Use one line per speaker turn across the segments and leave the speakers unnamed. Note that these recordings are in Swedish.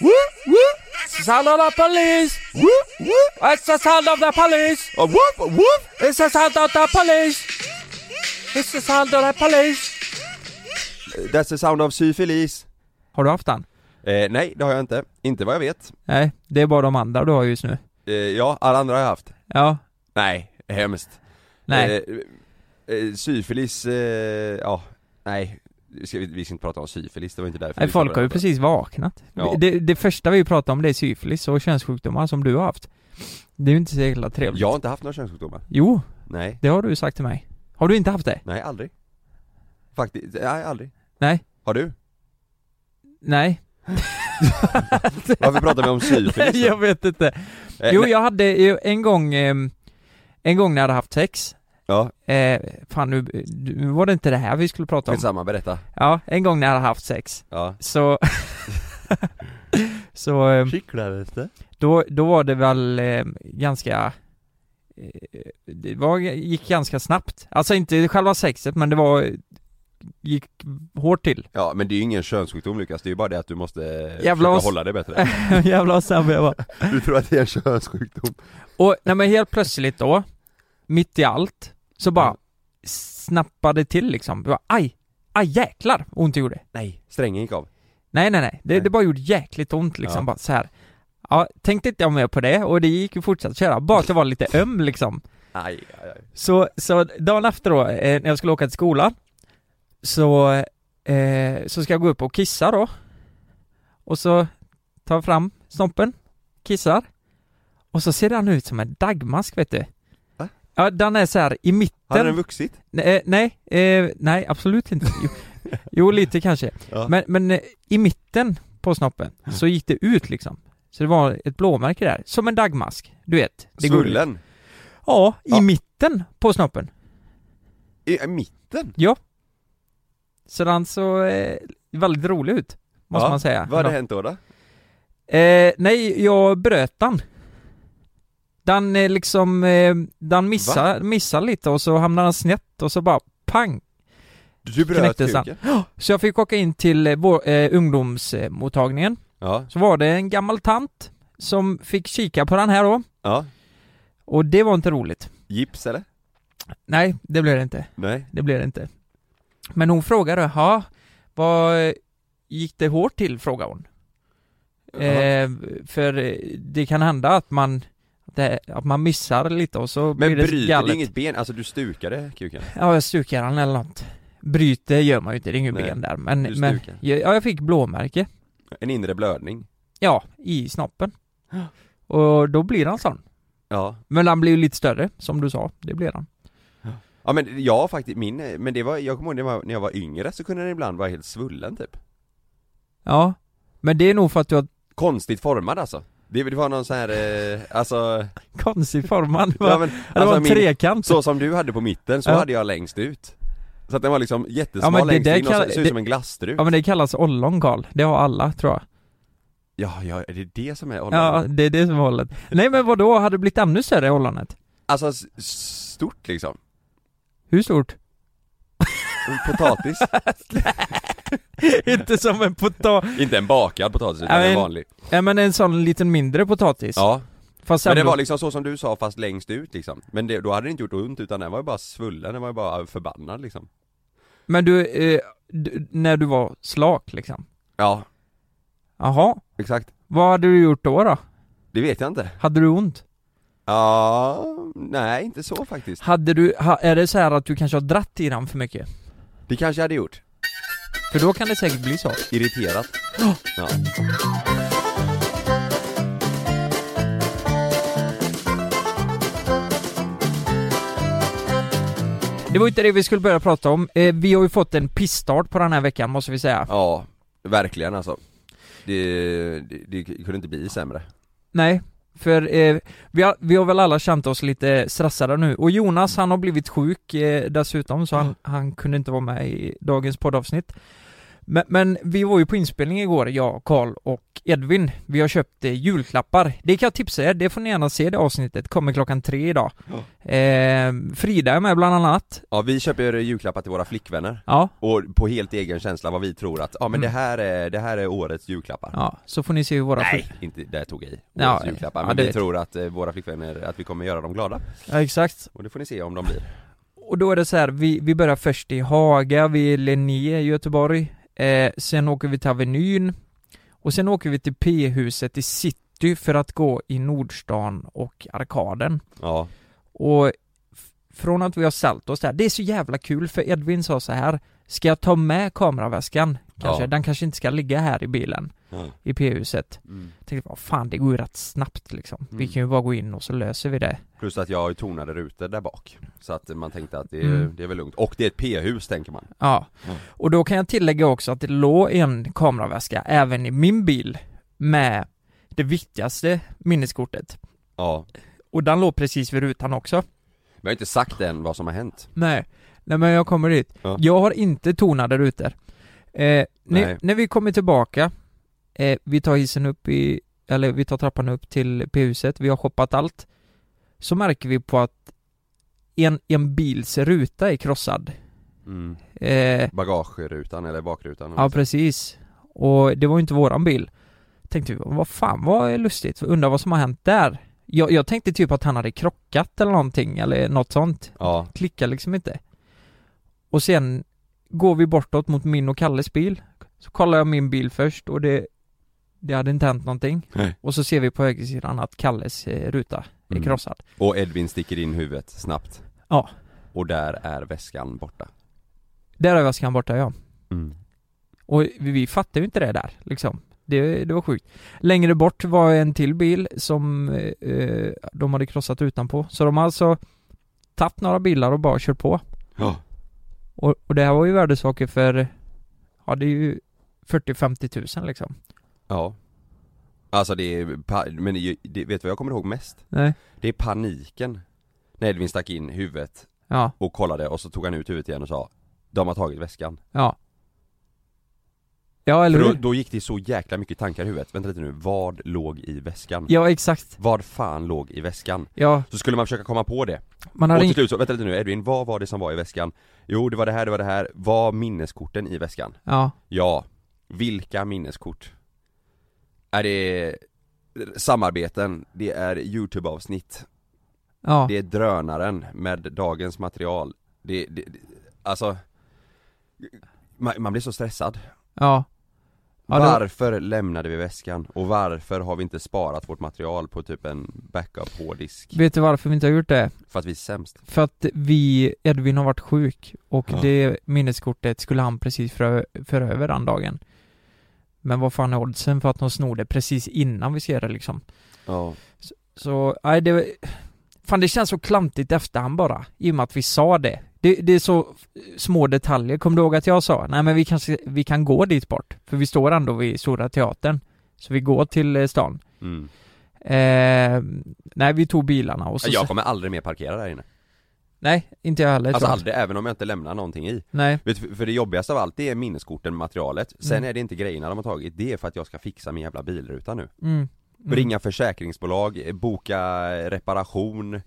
Whoop, whoop. It's the sound of the police. Whoop, whoop. It's the sound of the police.
A whoop, a whoop.
It's the sound of the police. It's the sound of the police.
That's the sound of syfilis.
Har du haft den?
Eh, nej, det har jag inte. Inte vad jag vet.
Nej, det är bara de andra du har just nu.
Eh, ja, alla andra har jag haft.
Ja,
Nej, hemskt.
nej.
Eh, eh, syfilis, eh, ja, nej. Vi ska, vi ska inte prata om syfilis, det var inte därför
nej
vi
folk har
pratade
ju
om det.
precis vaknat.
Ja.
Det, det första vi pratar om det är syfilis och könssjukdomar som du har haft. Det är ju inte så jäkla trevligt.
Jag har inte haft några könssjukdomar.
Jo,
Nej,
det har du ju sagt till mig. Har du inte haft det?
nej aldrig. Faktiskt, nej aldrig.
Nej.
Har du?
Nej.
Varför pratar vi om syfilis då?
jag vet inte.
Eh,
Jo,
nej,
jag hade ju en gång, ehm, en gång när jag hade haft sex.
Ja,
Eh, fan nu, nu var det inte det här vi skulle prata om.
skitsamma, berätta.
Ja, en gång när jag hade haft sex.
Ja.
Så, så ehm,
Kycklades det?
då, då var det väl ehm, ganska, eh, det var, gick ganska snabbt. Alltså inte själva sexet men det var, gick hårt till.
Ja, men det är ju ingen könssjukdom Lukas, det är ju bara det att du måste eh, försöka
Jävla oss.
hålla dig bättre.
Jävla snabb jag var.
Du tror att det är en könssjukdom?
Och nej, men helt plötsligt då, mitt i allt, så bara
Ja.
snappade till liksom. Det var aj, aj jäklar vad ont det gjorde.
Nej, strängen gick av.
Nej nej nej, det,
Nej.
det bara gjorde jäkligt ont liksom,
Ja.
bara så här. Ja, tänkte inte jag mer på det och det gick ju fortsatt köra, bara att jag var lite öm liksom.
Aj, aj, aj.
Så, så dagen efter då, eh, när jag skulle åka till skolan, så, eh, så ska jag gå upp och kissa då. Och så tar jag fram snoppen, kissar. Och så ser den ut som en dagmask vet du.
Va?
Ja, den är så här i mitten.
Hade den vuxit?
Nej, eh, nej, eh, nej, absolut inte. Jo, jo lite kanske.
Ja.
Men, men eh, i mitten på snoppen så gick det ut liksom. Så det var ett blåmärke där, som en dagmask, du vet. Det går ut.
Svullen?
Ja, i
Ja.
mitten på snoppen.
I, I mitten?
Så den såg eh, väldigt rolig ut, måste
Ja,
man säga.
Vad hade hänt då? då?
eh, nej, jag bröt den. Den eh, liksom, eh, den missar, missar lite och så hamnar den snett och så bara pang.
Du bröt
Knäcktes
kuken?
Så jag fick åka in till eh, vår, eh, ungdomsmottagningen.
Ja,
Så var det en gammal tant som fick kika på den här då.
ja.
Och det var inte roligt.
Gips eller?
Nej, det blev det inte.
Nej.
Det blev det inte. Men hon frågade, ja, vad eh, gick det hårt till? frågade hon.
Jaha.
Eh, för eh, det kan hända att man, det, att man missar lite och så
Men
blir det
bryter
galet.
det inget ben? Alltså du stukade kuken?
Ja, jag stukar han eller något. Bryter gör man ju inte, det är inget
Nej,
ben där. Men,
du
men
stukar.
ja, jag fick blåmärke.
En inre blödning?
Ja, i snoppen. Och då blir han sån.
Ja.
Men han blir ju lite större, som du sa. Det blir han.
Ja men jag faktiskt, min, men det var, jag kommer ihåg när jag var- när jag var yngre så kunde den ibland vara helt svullen typ
Ja. Men det är nog för att du har
Konstigt formad alltså Det, det var någon sån här, eh, alltså,
konstig formad.
ja, men,
det var
alltså
en
min,
trekant.
så som du hade på mitten så
Ja.
hade jag längst ut Så att den var liksom
Ja,
jättesmal
men det
längst
där
in och
kan-
så, såg ut
det-
som en glasstrut
Ja men det kallas ollon Karl. Det har alla tror jag.
Ja, ja, är det det som är
Ja,
oljan?
det är det som är ollonet. Nej men vad då hade det blivit ännu större ollonet?
Alltså s- stort liksom,
Hur stort?
En potatis
Inte som en potatis.
Inte en bakad potatis utan
Ja, men-
en vanlig
Ja men en sån liten mindre potatis.
Ja,
Fast
men det
ändå-
var liksom så som du sa fast längst ut liksom Men det, då hade det inte gjort ont utan den var ju bara svullen, den var ju bara förbannad liksom
men du, eh, du, när du var slak liksom.
Ja,
Jaha.
exakt
Vad hade du gjort då då?
Det vet jag inte.
Hade du ont?
Ja, nej inte så faktiskt.
Hade du, ha, är det så här att du kanske har dratt i den för mycket?
Det kanske jag hade gjort.
För då kan det säkert bli så.
Irriterat. Ja.
Det var inte det vi skulle börja prata om. Eh, vi har ju fått en pissstart på den här veckan måste vi säga.
ja, verkligen alltså. Det, det, det kunde inte bli sämre.
Nej, för eh, vi, har, vi har väl alla känt oss lite stressade nu. Och Jonas han har blivit sjuk eh, dessutom så han, han kunde inte vara med i dagens poddavsnitt. Men, men vi var ju på inspelning igår, jag, Karl och Edvin. Vi har köpt eh, julklappar. Det kan jag tipsa er, det får ni gärna se det avsnittet, kommer klockan tre idag. Eh, Frida är med bland annat.
Ja, vi köper julklappar till våra flickvänner
Ja,
och på helt egen känsla vad vi tror att, ja men
Mm.
det här är, det här är årets julklappar
ja, så får ni se hur våra...
Nej, inte, där tog jag i. Årets
Ja,
julklappar.
ja,
Men
det
vi
vet
tror att eh, våra flickvänner, att vi kommer göra dem glada.
Ja, exakt.
Och det får ni se om de blir.
Och då är det så här, vi, vi börjar först i Haga, vi är Linné i Göteborg. Eh, sen åker vi till Avenyn. Och sen åker vi till P-huset i city för att gå i Nordstan och Arkaden.
Ja,
Och f- från att vi har sålt oss där, det är så jävla kul för Edvin sa så här Ska jag ta med kameraväskan? Kanske,
Ja.
den kanske inte ska ligga här i bilen
Ja.
I P-huset Jag Tänkte, vad fan det går ju rätt snabbt liksom Vi
Mm.
kan ju bara gå in och så löser vi det
Plus att jag har ju tonade rutor där bak. Så att man tänkte att det,
Mm.
det är väl lugnt. Och det är ett p-hus tänker man.
Ja
Mm.
Och då kan jag tillägga också att det låg en kameraväska även i min bil Med det viktigaste minneskortet
Ja.
Och den låg precis vid rutan också
Vi har inte sagt än vad som har hänt.
Nej, nej men jag kommer dit.
Ja.
Jag har inte tonade rutor. Eh, när,
Nej.
när vi kommer tillbaka, eh, vi tar hissen upp i, eller vi tar trappan upp till P-huset, vi har shoppat allt. Så märker vi på att en, en bils ruta är krossad. Eh,
Mm. Bagagerutan eller bakrutan.
ja precis. Och det var ju inte våran bil. Tänkte vi, vad fan vad lustigt, undrar vad som har hänt där. Jag, jag tänkte typ att han hade krockat eller någonting eller något sånt
ja.
klickar liksom inte. Och sen går vi bortåt mot min och Kalles bil. Så kollar jag min bil först och det, det hade inte hänt någonting.
Nej.
Och så ser vi på högersidan att Kalles eh, ruta är
Mm.
krossad.
Och Edvin sticker in huvudet snabbt.
Ja.
Och där är väskan borta.
Där är väskan borta ja. Mm. Och vi, vi fattar ju inte det där liksom. Det, det var sjukt. Längre bort var en till bil som eh, eh, de hade krossat utanpå. Så de har alltså tagit några bilar och bara kört på.
Ja.
Och, och det här var ju värdesaker för, ja det är ju 40-50 tusen liksom.
Ja. Alltså det är, pa- men det, är ju- det, vet du vad jag kommer ihåg mest?
Nej.
Det är paniken. När Edvin stack in huvudet
Ja,
och kollade och så tog han ut huvudet igen och sa De har tagit väskan.
ja. Ja, eller
För då,
hur?
då gick det så jäkla mycket tankar i huvudet, vänta lite nu, vad låg i väskan?
Ja, exakt.
Vad fan låg i väskan?
Ja,
Så skulle man försöka komma på det,
man
och
har
till
inte...
slut så, vänta lite nu Edvin, vad var det som var i väskan? Jo det var det här, det var det här, var minneskorten i väskan?
Ja,
Ja, vilka minneskort? Är det samarbeten, det är youtube-avsnitt,
ja.
det är drönaren med dagens material, det, det, det alltså man, man blir så stressad
Ja. Ja, det-
Varför lämnade vi väskan? Och varför har vi inte sparat vårt material på typ en backup hårddisk?
Vet du varför vi inte har gjort det?
För att vi är sämst
För att vi, Edvin har varit sjuk och
Ja.
det minneskortet skulle han precis för, för över den dagen. Men vad fan är oddsen för att de snor det precis innan vi ser det liksom?
Ja
Så, nej det... Fan det känns så klantigt efterhand bara, i och med att vi sa det. Det, det är så f- små detaljer, kommer du ihåg att jag sa? Nej men vi kanske, vi kan gå dit bort, för vi står ändå vid Stora Teatern. Så vi går till eh, stan.
mm.
Eh, nej vi tog bilarna och så...
Jag kommer aldrig mer parkera där inne
Nej, inte jag heller
Alltså
tror jag.
aldrig, även om jag inte lämnar någonting i
Nej,
Vet du, För det jobbigaste av allt, det är minneskorten, materialet Sen
Mm.
är det inte grejerna de har tagit, det är för att jag ska fixa min jävla bilruta nu
mm. mm.
Ringa försäkringsbolag, eh, boka reparation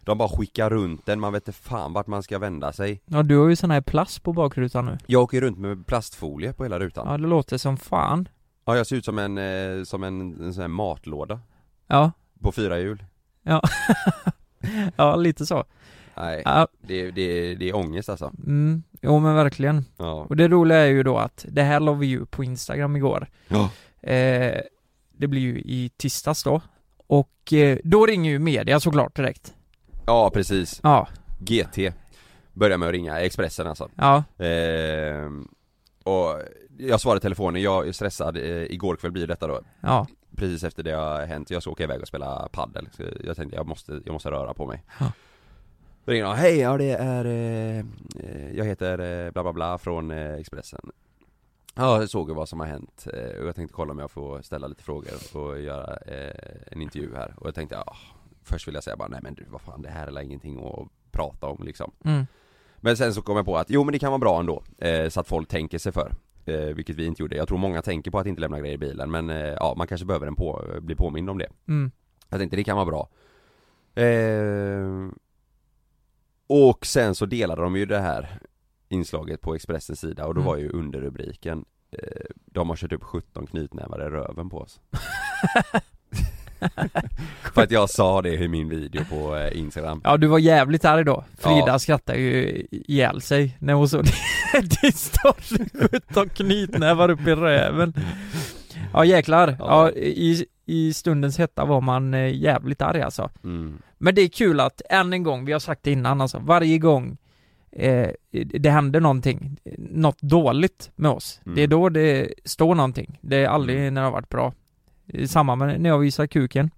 De bara skickar runt den, man vet inte fan vart man ska vända sig
Ja du har ju sån här plast på bakrutan nu.
Jag åker runt med plastfolie på hela rutan
Ja det låter som fan.
Ja jag ser ut som en, eh, som en, en sån här matlåda
Ja,
På fyra hjul?
ja lite så.
Nej,
Ja,
det, det, det är ångest alltså
mm. Jo men verkligen.
Ja,
Och det roliga är ju då att det här la vi ju på Instagram igår.
ja.
Eh, det blir ju i tisdags då. Och eh, då ringer ju media såklart direkt.
precis,
Ja,
GT Börjar med att ringa Expressen alltså
ja,
ehm, Och jag svarar i telefonen, jag är stressad, eh, igår kväll blir detta då
ja,
Precis efter det har hänt, jag ska åka iväg och spela paddel så Jag tänkte jag måste, jag måste röra på mig
Ja.
Då ringer de, hej ja det är, eh, eh, jag heter eh, bla bla bla från eh, Expressen Ja, jag såg ju vad som har hänt eh, och jag tänkte kolla om jag får ställa lite frågor och göra eh, en intervju här och jag tänkte, ja Först vill jag säga bara, nej men du vad fan det här är väl ingenting att prata om liksom
mm.
Men sen så kom jag på att, jo men det kan vara bra ändå eh, Så att folk tänker sig för eh, vilket vi inte gjorde. Jag tror många tänker på att inte lämna grejer i bilen men eh, ja, man kanske behöver en på, eh, bli påmind om det.
Mm.
Jag tänkte det kan vara bra eh, Och sen så delade de ju det här inslaget på Expressens sida och då
Mm.
var ju underrubriken eh, De har kört upp 17 knytnävar i röven på oss För att jag sa det i min video på eh, Instagram
Ja du var jävligt arg då. Frida
Ja.
skrattade ju ihjäl sig när hon såg din story 17 knytnävar upp i röven. Ja jäklar. Ja,
Ja.
i, i stundens hetta var man eh, jävligt arg alltså.
mm.
Men det är kul att än en gång, vi har sagt det innan alltså, varje gång eh, det händer någonting, något dåligt med oss.
Mm.
Det är då det står någonting. Det är aldrig
Mm.
när det har varit bra. Eh, Samma med när jag visade kuken.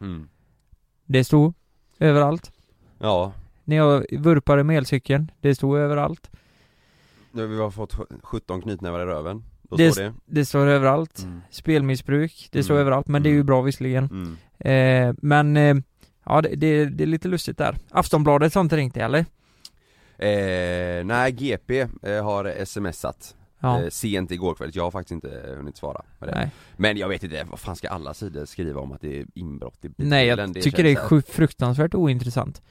Mm.
Det stod överallt.
Ja,
När jag vurpade med elcykeln, det stod överallt.
nu har vi har fått 17 knytnävar i röven Då
Det-
står det
Det står överallt.
mm.
Spelmissbruk, det står
Mm.
överallt. Men det är ju
Mm.
bra visserligen.
Mm.
Eh, men eh, ja, det, det, det är lite lustigt där. Aftonbladet har inte ringt dig, eller?
Eh, nej, GP eh, har smsat
Ja.
eh, sent igår kväll, jag har faktiskt inte hunnit svara med det.
Nej.
Men jag vet inte, vad fan ska alla sidor skriva om att det är inbrott i bilen?
Nej, jag tycker det är
känns så här-
sju- fruktansvärt ointressant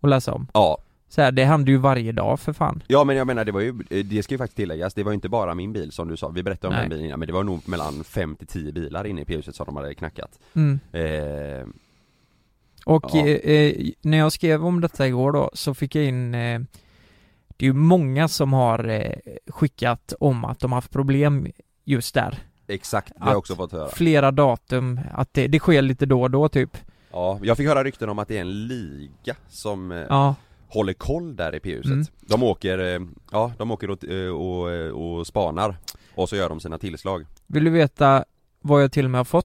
att läsa om.
Ja,
Så här, det händer ju varje dag för fan.
ja men jag menar det var ju, eh, det ska ju faktiskt tilläggas, det var ju inte bara min bil som du sa, vi berättade om
Nej.
den bilen innan, men det var nog mellan 5 till 10 bilar inne i P-huset som de hade knackat
Mm.
eh,
Och
Ja.
eh, eh, när jag skrev om detta igår då så fick jag in eh, Det är ju många som har eh, skickat om att de haft problem just där.
Exakt, det har jag
Att-
också fått höra
Flera datum, att det, det sker lite då och då typ.
Ja, jag fick höra rykten om att det är en liga som eh,
Ja,
håller koll där i P-huset
Mm.
De åker, eh, ja de åker och, eh, och, eh, och spanar och så gör de sina tillslag
vill du veta vad jag till och med har fått?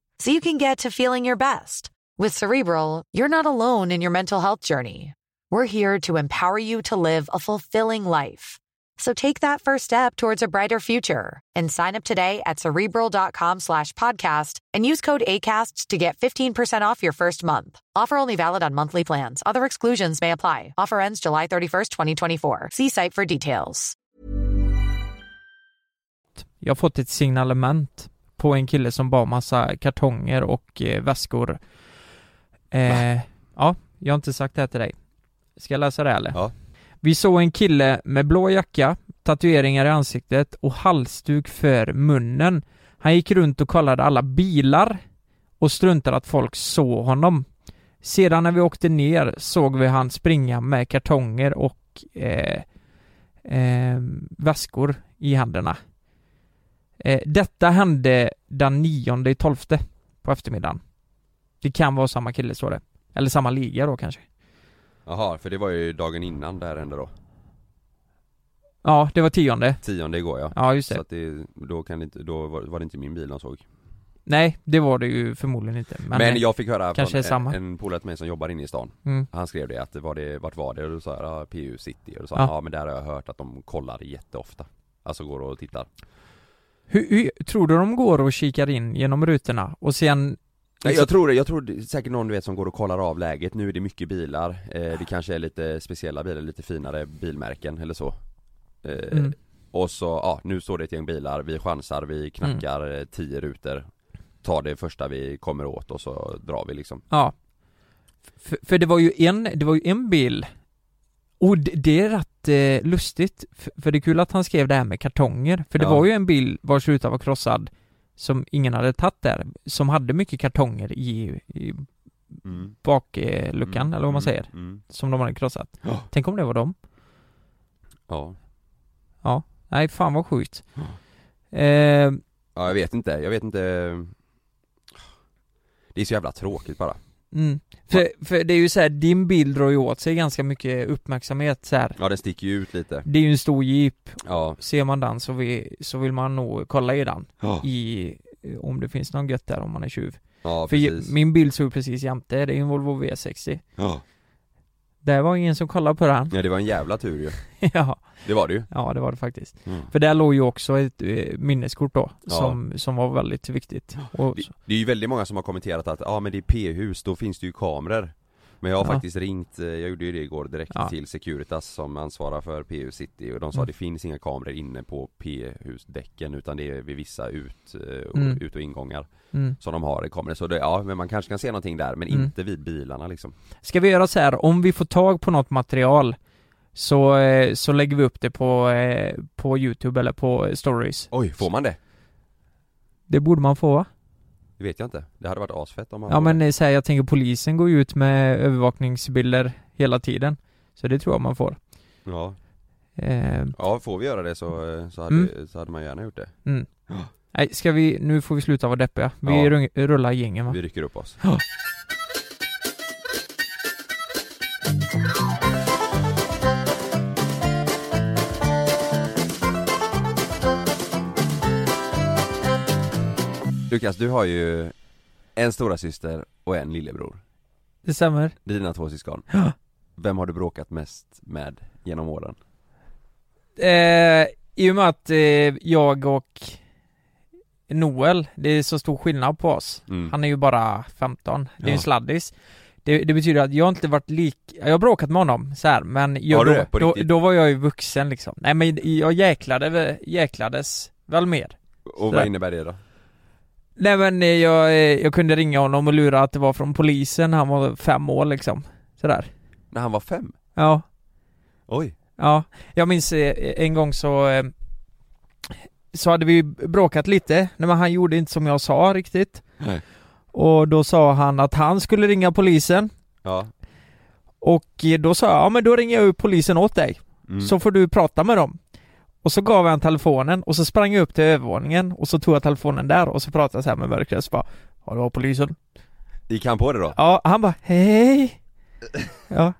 so you can get to feeling your best. With Cerebral, you're not alone in your mental health journey. We're here to empower you to live a fulfilling life. So take that first step towards a brighter future and sign up today at cerebral.com slash podcast and use code ACAST to get 15% off your first month. Offer only valid on monthly plans. Other exclusions may apply. Offer ends July 31st, 2024. See site for details.
Jag har fått ett signalement på en kille som bar massa kartonger och eh, väskor. Eh, ja, jag har inte sagt det här till dig. Ska jag läsa det eller?
Ja.
Vi såg en kille med blå jacka, tatueringar i ansiktet och halsduk för munnen. Han gick runt och kollade alla bilar och struntade att folk såg honom. Sedan när vi åkte ner såg vi han springa med kartonger och eh, eh, väskor i händerna. Eh, detta hände den 9 i 12 på eftermiddagen. Det kan vara samma kille står det. Eller samma liga då kanske.
Jaha, för det var ju dagen innan det här hände då
Ja, det var tionde.
Tionde igår ja
Ja, just det.
Så att det, då kan det inte, då var var det inte min bil de såg
Nej, det var det ju förmodligen inte. Men, eh,
Men, jag fick höra
kanske är
från
samma.
en, en polare till mig som jobbar inne i stan
Mm,
Han skrev det att, var det, vart var det? Och då sa jag, ja, PU City Och då sa
Ja.
han, ja men där har jag hört att de kollar jätteofta Alltså går och tittar
hur, hur, tror du de går och kikar in genom rutorna och sen...
Nej, jag tror det, jag tror det, är säkert någon du vet som går och kollar av läget Nu är det mycket bilar,
Ah.
eh, det kanske är lite speciella bilar, lite finare bilmärken eller så eh,
Mm,
Och så, ja nu står det ett gäng bilar, vi chansar, vi knackar
Mm.
eh, tio rutor Tar det första vi kommer åt och så drar vi liksom
ja. För, för det var ju en, det var ju en bil. Och det, det är rätt väldigt eh, lustigt, f- för det är kul att han skrev det här med kartonger, för det
Ja.
var ju en bild vars ruta var krossad som ingen hade tagit där, som hade mycket kartonger i, i
Mm.
bakluckan, eller vad man säger,
Mm.
som de hade krossat.
Ja.
Tänk om det var dem?
Ja.
Nej, fan vad sjukt. Eh,
ja, jag vet inte, jag vet inte Det är så jävla tråkigt bara
mm. för, för det är ju så här, din bild drar ju åt sig ganska mycket uppmärksamhet så här.
Ja den sticker ju ut lite
Det är ju en stor jeep,
Ja,
ser man den så, vi, så vill man nog kolla i den,
ja,
i, om det finns någon gött där om man är tjuv.
ja
För
precis
min bild såg precis jämte, det är en Volvo V60
ja.
Där var ingen som kollade på den
ja, det var en jävla tur ju
ja,
Det var det ju
ja det var det faktiskt
Mm.
För där låg ju också ett eh, minneskort då,
Ja.
som, som var väldigt viktigt och,
Det, det är ju väldigt många som har kommenterat att ja ah, men det är p-hus, då finns det ju kameror Men jag har
Ja.
faktiskt ringt, eh, jag gjorde ju det igår direkt
Ja.
till Securitas som ansvarar för p-hus city och de sa
Mm.
det finns inga kameror inne på p-husdäcken utan det är vid vissa ut, eh, och-
Mm.
ut och ingångar
mm.
som de har kameror så det, ja men man kanske kan se någonting där men
Mm.
inte vid bilarna liksom
Ska vi göra så här, om vi får tag på något material så, eh, så lägger vi upp det på, eh, på youtube eller på eh, stories
Oj, får man det?
Det borde man få va?
Det vet jag inte, det hade varit asfett om man
Ja
får
men
det.
eh, så här, jag tänker polisen går ju ut med övervakningsbilder hela tiden Så det tror jag man får
ja.
eh,
ja, får vi göra det så, eh, så, hade,
Mm.
så hade man gärna gjort det
Nej, ska vi, nu får vi sluta vara deppiga. Vi
Ja.
rung- rullar gängen va?
Vi rycker upp oss Lukas, du har ju en stora syster och en lillebror
Det stämmer.
Det är dina två syskon
Ja.
Vem har du bråkat mest med genom åren?
Eh, I och med att eh, jag och Noel, det är så stor skillnad på oss.
Mm.
Han är ju bara 15, det är ju
Ja.
en sladdis. Det, det betyder att jag inte varit lik, jag har bråkat med honom så här, men
Har
jag,
du
då,
det? På
då,
riktigt?
då var jag ju vuxen liksom. Nej men jag jäklade, väl- jäklades väl mer.
Och vad
Sådär.
innebär det då?
Nej men eh, jag, eh, jag kunde ringa honom och lura att det var från polisen, han var fem år liksom. Sådär.
När han var fem?
Ja.
Oj!
Ja, jag minns eh, en gång så eh, Så hade vi bråkat lite, Nej, men han gjorde inte som jag sa riktigt
Nej.
Och då sa han att han skulle ringa polisen
Ja
Och eh, då sa jag, ja men då ringer jag upp polisen åt dig
Mm.
Så får du prata med dem Och så gav jag han telefonen och så sprang jag upp till övervåningen Och så tog jag telefonen där och så pratade jag så här med mörkret så bara Ja det var polisen
Gick han på det då?
Ja, han bara hej Ja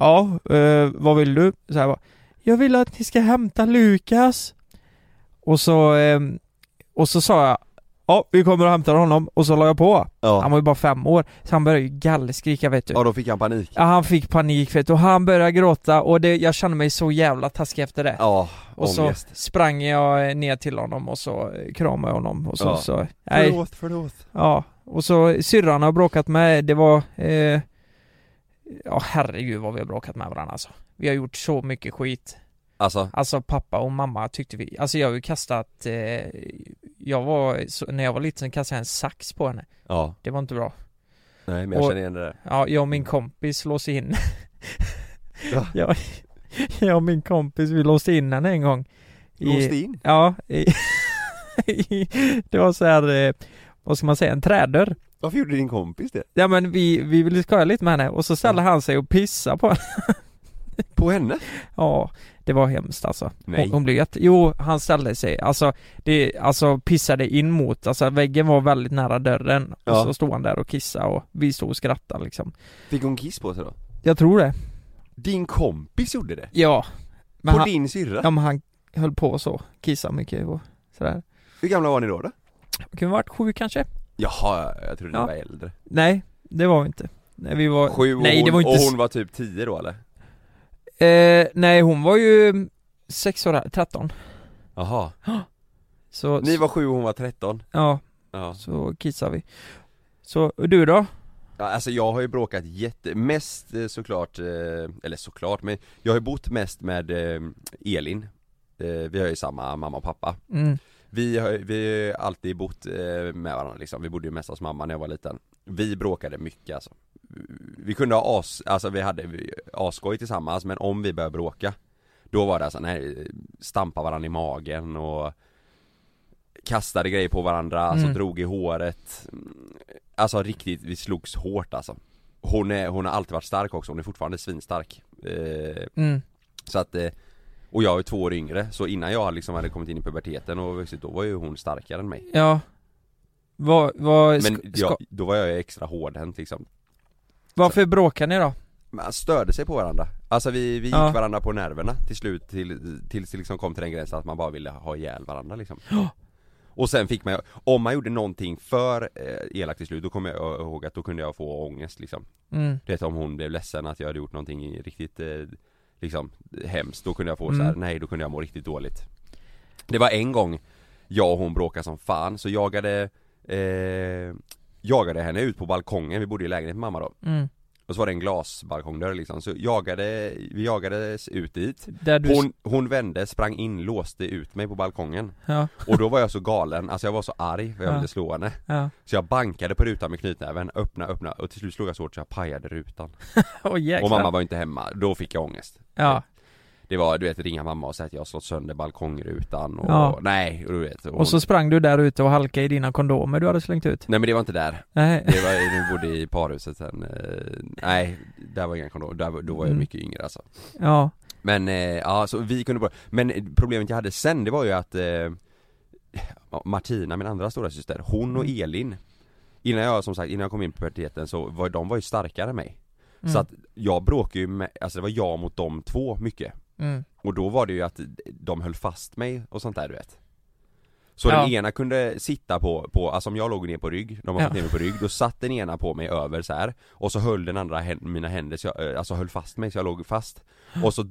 Ja, eh, vad vill du? Så här bara, Jag vill att ni ska hämta Lukas Och så eh, Och så sa jag Ja, vi kommer och hämtar honom och så la jag på Han
Ja,
var ju bara fem år Så han började ju gallskrika vet du
ja då fick han panik
Ja, han fick panik vet du och han började gråta och det, jag kände mig så jävla taskig efter det
Ja,
Och så
ångest
sprang jag eh, ner till honom och så eh, kramade jag honom och så,
Ja.
så nej,
förlåt
Ja, och så syrran har bråkat med, det var... Eh, ja herregud vad vi har bråkat med varandra alltså. Vi har gjort så mycket skit.
Alltså,
Alltså pappa och mamma tyckte vi, alltså jag har ju kastat, eh, jag var, så, när jag var liten kastade jag en sax på henne.
ja,
Det var inte bra.
nej men jag
Och-
känner igen det där
Ja, jag och min kompis låste in.
Ja.
jag, jag och min kompis, vi låste in henne en gång. I-
in?
Ja. I, i, det var så här, eh, vad ska man säga, en trädörr.
Varför gjorde din kompis det?
Ja men vi, vi ville skoja lite med henne och så ställde han sig och pissade på henne.
På henne?
Ja, det var hemskt alltså.
Nej.
Hon, hon blev jätte... Jo, han ställde sig, alltså, det, alltså pissade in mot, alltså väggen var väldigt nära dörren.
Ja.
Och så stod han där och kissade och vi stod och skrattade liksom.
Fick hon kiss på sig då?
Jag tror det.
Din kompis gjorde det?
Ja. Men
På
han,
din syrra?
ja, men han höll på så, kissade mycket och sådär.
Hur gamla var ni då? då?
Kunde varit sju kanske?
Jaha, jag trodde ni
Ja.
var äldre
Nej, det var vi inte. Nej, vi var...
Sju och,
Nej,
hon,
det var inte...
och hon var typ tio då eller?
eh, nej, hon var ju sex år, 13.
Jaha
Så,
Ni var sju och hon var tretton?
ja.
Ja.
Så kissar vi Så, och du då?
ja Alltså jag har ju bråkat jätte, mest eh, såklart, eh, eller såklart men Jag har ju bott mest med eh, Elin Eh, Vi har ju samma mamma och pappa
Mm,
Vi har, vi har ju alltid bott eh, med varandra liksom, vi bodde ju mest hos mamma när jag var liten Vi bråkade mycket alltså Vi kunde ha as, alltså vi hade vi- asskoj tillsammans men om vi började bråka Då var det alltså, nej, stampa varandra i magen och kastade grejer på varandra, alltså
Mm.
drog i håret Mm, Alltså riktigt, vi slogs hårt alltså Hon, är, hon har alltid varit stark också, hon är fortfarande svinstark eh,
Mm.
så att, eh, och jag är två år yngre, så innan jag liksom hade kommit in i puberteten och vuxit, då var ju hon starkare än mig
Ja. Vad, vad,
Men
sk-
jag,
ska-
då var jag ju extra hårdhänt liksom
varför bråkar ni då?
Man störde sig på varandra, alltså vi, vi gick
Ja.
varandra på nerverna till slut, till, tills det liksom kom till den gränsen att man bara ville ha ihjäl varandra liksom Och sen fick man ju- om man gjorde någonting för eh, elakt till slut, då kommer jag ihåg att då kunde jag få ångest liksom
Mm.
Du vet om hon blev ledsen att jag hade gjort någonting riktigt eh, liksom hemskt, då kunde jag få
Mm.
så här, nej då kunde jag må riktigt dåligt Det var en gång jag och hon bråkade som fan, så jagade eh, Jagade henne ut på balkongen, vi bodde i lägenhet med mamma då
Mm.
Och så var det en glasbalkongdörr liksom, så jagade, vi jagades ut dit
Där du...
hon, hon vände, sprang in, låste ut mig på balkongen
Ja,
Och då var jag så galen, alltså jag var så arg för jag
Ja.
ville slå henne
ja.
Så jag bankade på rutan med knytnäven, öppna, öppna och till slut slog jag så hårt så jag pajade rutan
Åh jäklar.
och mamma var inte hemma, då fick jag ångest
Ja.
Det var du vet ringa mamma och säga att jag har slått sönder balkongrutan och
Ja.
nej, och du vet hon...
Och så sprang du där ute och halkade i dina kondomer du hade slängt ut.
Nej men det var inte där,
Nej.
det var, vi bodde i parhuset sen eh, Nej, där var inga kondomer, där, var- då var jag
Mm.
mycket yngre alltså
Ja.
Men eh, ja, så vi kunde bara... Men problemet jag hade sen det var ju att eh, ja, Martina, min andra stora syster, hon och
Mm.
Elin Innan jag som sagt, innan jag kom in på puberteten så var de var ju starkare än mig
Mm.
Så att jag bråkade ju med, alltså det var jag mot de två mycket
Mm.
Och då var det ju att de höll fast mig och sånt där du vet Så
Ja.
den ena kunde sitta på, på, alltså om jag låg ner på rygg, de har
Ja.
satt ner mig på rygg, då satt den ena på mig över så här Och så höll den andra hän- mina händer, så jag, eh, alltså höll fast mig så jag låg fast Och så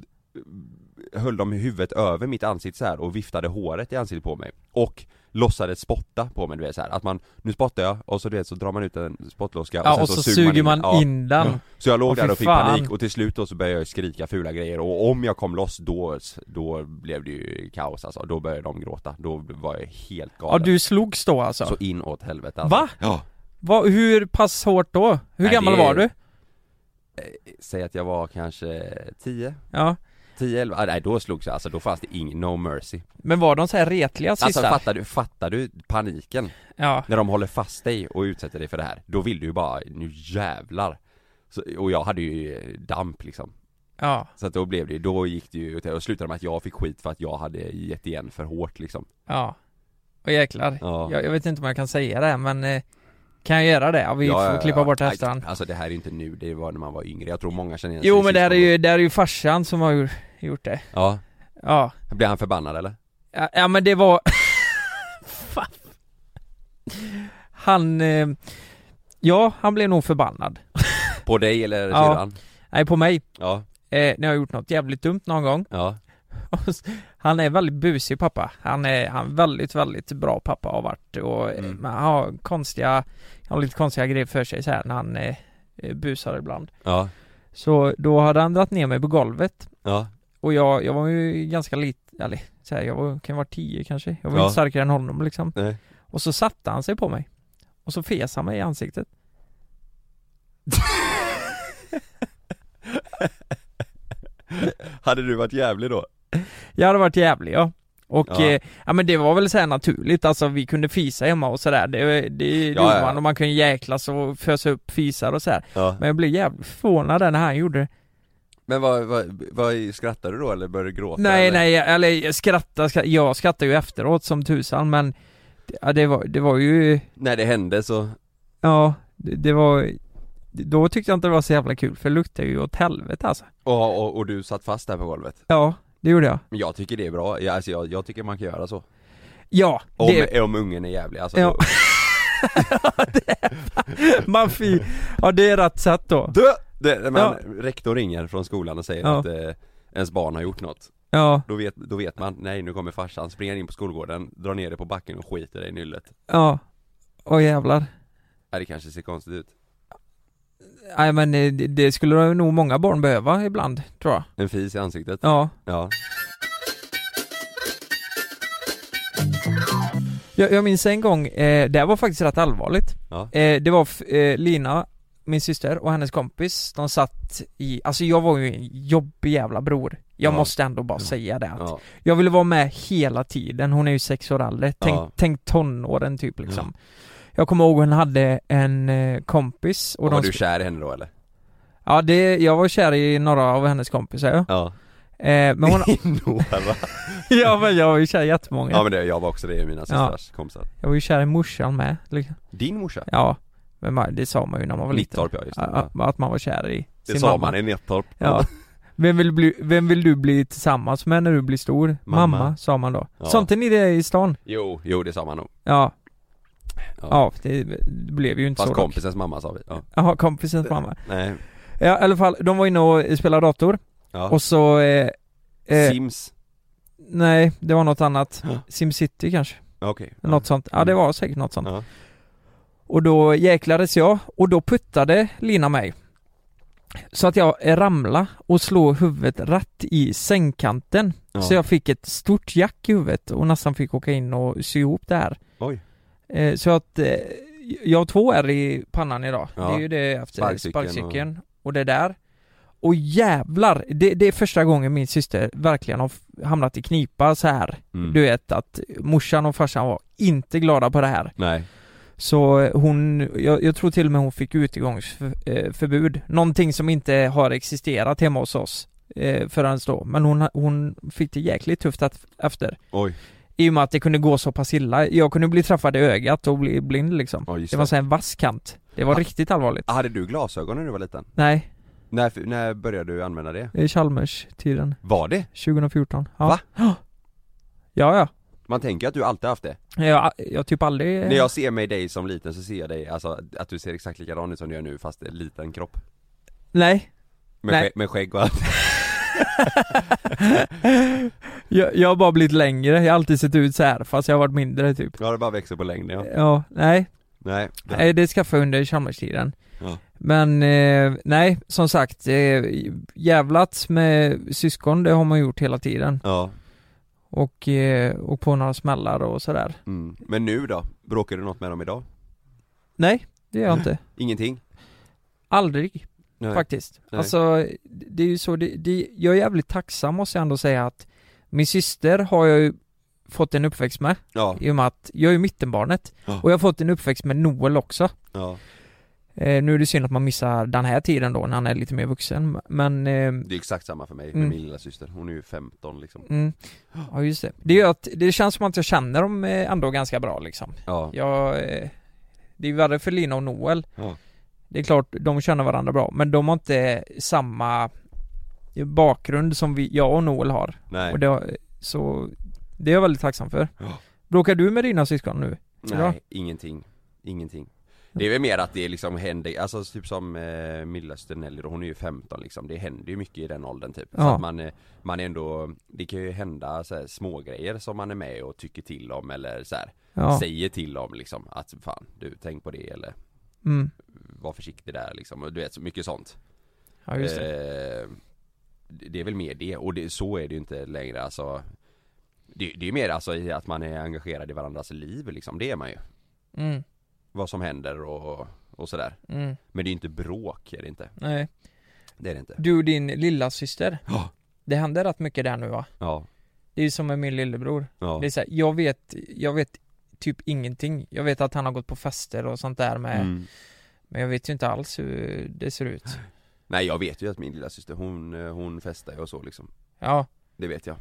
eh, höll de huvudet över mitt ansikte så här och viftade håret i ansiktet på mig Och låtsades spotta på mig du vet så här att man, nu spottar jag och så du vet så drar man ut en spottloska
Ja, och så, suger man,
Ja.
in den.
Mm. Så jag låg
Åh, fy
där och fick
fan.
panik och till slut då så började jag skrika fula grejer och om jag kom loss då, då blev det ju kaos alltså, då började de gråta, då var jag helt
Ja,
galen
du slogs då alltså?
Så inåt helvete alltså.
Va?
Ja!
Va, hur pass hårt då? Hur
Nej,
gammal
det-
var du?
Säg att jag var kanske 10,
Ja.
10, 11, ah, nej då slogs jag alltså, då fanns det ingen, no mercy
Men var de så här retliga
Alltså
sista?
fattar du, fattar du paniken?
ja.
När de håller fast dig och utsätter dig för det här, då vill du ju bara, nu jävlar! Så, och jag hade ju eh, damp liksom
Ja.
Så att då blev det då gick det ju, och slutade med att jag fick skit för att jag hade gett igen för hårt liksom
Ja. Och jäklar.
Ja.
Jag, jag vet inte om jag kan säga det här, men eh, kan jag göra det? Ja, vi
Ja,
får
ja, ja.
klippa bort
Aj,
efterhand.
Alltså det här är ju inte nu, det var när man var yngre, jag tror många känner igen sig
Jo
i
men det här är
syskonen.
ju, det här är ju farsan som har gjort- gjort det.
Ja,
Ja.
blir han förbannad eller?
Ja, ja men det var... Fan. han... Eh... Ja, han blev nog förbannad.
På dig eller
Ja.
syrran?
Nej, på mig.
Ja,
Eh, när jag har gjort något jävligt dumt någon gång.
ja,
Han är väldigt busig pappa. Han är, han är väldigt, väldigt bra pappa har varit och eh,
Mm.
men han har konstiga, han har lite konstiga grejer för sig så här när han eh, eh, busar ibland.
ja,
Så då hade han dragit ner mig på golvet
ja,
och jag, jag var ju ganska liten, eller så här, jag var, kan ju vara tio kanske. Jag var
Ja.
inte starkare än honom liksom.
nej
Och så satte han sig på mig. Och så fes han mig i ansiktet.
Hade du varit jävlig då?
Jag hade varit jävlig ja. Och
Ja.
ja. Eh, ja men det var väl så här naturligt, alltså vi kunde fisa hemma och sådär, det, det gjorde
ja.
man och man kunde jäklas och fösa upp fisar och så här.
Ja
Men jag blev jävligt förvånad där när han gjorde det.
Men vad, vad, vad skrattade du då eller började du gråta?
Nej
eller?
nej, eller jag skrattar, skrattar, jag skrattar ju efteråt som tusan men det- ja, det, var, det var ju,
När det hände så,
ja det, det var, då tyckte jag inte det var så jävla kul för det luktade ju åt helvete alltså.
och, och, och du satt fast där på golvet
Ja, det gjorde jag.
Men jag tycker det är bra, jag, alltså jag, jag tycker man kan göra så
Ja,
Om,
det,
om ungen är jävlig alltså
Ja.
då,
man fi, ja det är rätt sätt då.
Dö! Det, men
Ja.
rektor ringer från skolan och säger
Ja.
att eh, ens barn har gjort något
Ja,
då vet, då vet man, nej nu kommer farsan, springer in på skolgården, drar ner det på backen och skiter dig i nyllet
ja. Åh jävlar.
Nej det kanske ser konstigt ut
Nej men eh, det- det skulle nog många barn behöva ibland, tror jag.
En fis i ansiktet
Ja.
Ja,
Jag, jag minns en gång, eh, det här var faktiskt rätt allvarligt.
ja,
Eh, det var f- eh, Lina, min syster och hennes kompis, de satt i, alltså jag var ju en jobbig jävla bror. Jag
Ja.
måste ändå bara
Ja.
säga det att
Ja,
Jag ville vara med hela tiden, hon är ju sex år äldre, tänk,
Ja.
tänk tonåren typ liksom Jag kommer ihåg hon hade en eh, kompis och
och var
de
du
sk-
kär i henne då eller?
Ja det, jag var kär i några av hennes kompisar ja.
Ja
eh, Men hon,
Några
ja men jag var ju kär i jättemånga
Ja men det, jag var också det i mina systrars kompisar
Jag var ju kär i morsan med, liksom.
Din morsa?
ja Men man, det sa man ju när man var liten
Nittorp ja, just det
Ja,
ja.
ja, Att man var kär i
Det
sin
sa
mamma.
man i Nittorp
Ja. Vem vill, bli, vem vill du bli tillsammans med när du blir stor?
Mamma.
Mamma, sa man då.
Ja.
Sånt är ni det i stan?
Jo, jo det sa man nog
Ja.
Ja.
Ja, det, det blev ju inte
Fast
så. dock.
kompisens mamma sa vi ja.
Jaha, kompisens mamma.
Nej
Ja, i alla fall, de var inne och spelade dator.
ja.
Och så... Eh, eh,
Sims
nej, det var något annat.
Ja.
Simcity kanske.
Ja, Okej
Något sånt. Ja, det var säkert något sånt.
Ja.
Och då jäklades jag och då puttade Lina mig. Så att jag ramlade och slog huvudet rätt i sängkanten.
Ja.
Så jag fick ett stort jack i huvudet och nästan fick åka in och sy ihop det här.
Oj.
Eh, så att eh, jag har två är i pannan idag.
Ja.
Det är ju det efter
Sparkcykeln
sparkcykeln, och... det där. Och jävlar, det, det är första gången min syster verkligen har f- hamnat i knipa så här.
Mm.
Du vet att morsan och farsan var inte glada på det här.
Nej
Så eh, hon, jag, jag tror till och med hon fick utegångsförbud. Någonting som inte har existerat hemma hos oss eh, förrän då. Men hon, hon fick det jäkligt tufft att, efter.
Oj,
I och med att det kunde gå så pass illa. Jag kunde bli träffad i ögat och bli blind liksom.
ja just
Det var
det
så här en vass kant. Det var
Ah.
riktigt allvarligt.
Hade du glasögon när du var liten?
Nej,
När, när började du använda det?
det är Chalmers-tiden.
Var det?
2014. Ja.
Va?
Ja, ja.
Man tänker att du alltid haft det
Jag, jag har typ aldrig...
När jag ser mig dig som liten så ser jag dig, alltså att du ser exakt likadan ut som du gör nu fast en liten kropp
Nej.
Med,
Nej.
Skägg, med skägg och allt
jag, jag har bara blivit längre. Jag har alltid sett ut så här fast jag har varit mindre typ.
Ja det bara växer på längden ja
Ja, nej,
Nej,
Eh. nej det skaffade jag under Chalmerstiden.
Ja.
Men eh, nej, som sagt, eh, jävlat med syskon, det har man gjort hela tiden.
Ja,
Och, eh, och på några smällar och sådär.
mm. men nu då? Bråkar du något med dem idag?
Nej, det gör jag inte.
Ingenting?
Aldrig,
Nej.
faktiskt.
Nej.
Alltså, det är ju så, det, det, jag är jävligt tacksam måste jag ändå säga att min syster har jag ju fått en uppväxt med,
Ja,
i och med att jag är ju mittenbarnet.
Ja.
Och jag har fått en uppväxt med Noel också.
ja
Eh, nu är det synd att man missar den här tiden då när han är lite mer vuxen, men eh,
Det är exakt samma för mig, med
Mm.
min lilla syster. hon är ju 15 liksom
mm, ja just det. Det gör att det känns som att jag känner dem eh, ändå ganska bra liksom.
Ja,
Jag, eh, det är ju värre för Lina och Noel.
Ja.
Det är klart, de känner varandra bra, men de har inte samma bakgrund som vi, jag och Noel har.
nej
Och det, så det är jag väldigt tacksam för.
Ja.
Bråkar du med dina syskon nu?
Nej,
Ja.
ingenting. Ingenting. Det är väl mer att det liksom händer, alltså typ som eh, Milla Stenelli då, hon är ju 15 liksom, det händer ju mycket i den åldern typ. Så
Ja.
att man, eh, man är ändå, det kan ju hända så här, små grejer som man är med och tycker till om eller så här,
Ja.
säger till om liksom att fan du tänk på det eller
Mm.
var försiktig där liksom och du vet så mycket sånt.
Ja just det.
Eh, det det är väl mer det och det, så är det ju inte längre alltså. Det, det är mer alltså i att man är engagerad i varandras liv liksom, det är man ju Eh.
Mm.
vad som händer och, och sådär.
Mm.
Men det är ju inte bråk, är det inte?
Nej.
Det är det inte.
Du och din lilla syster.
Ja.
Det händer rätt mycket där nu va?
Ja,
Det är ju som med min lillebror.
ja,
Det är så här, jag vet, jag vet typ ingenting. Jag vet att han har gått på fester och sånt där med,
Mm.
men jag vet ju inte alls hur det ser ut.
Nej jag vet ju att min lilla syster hon, eh, hon festar ju och så liksom.
Ja,
Det vet jag.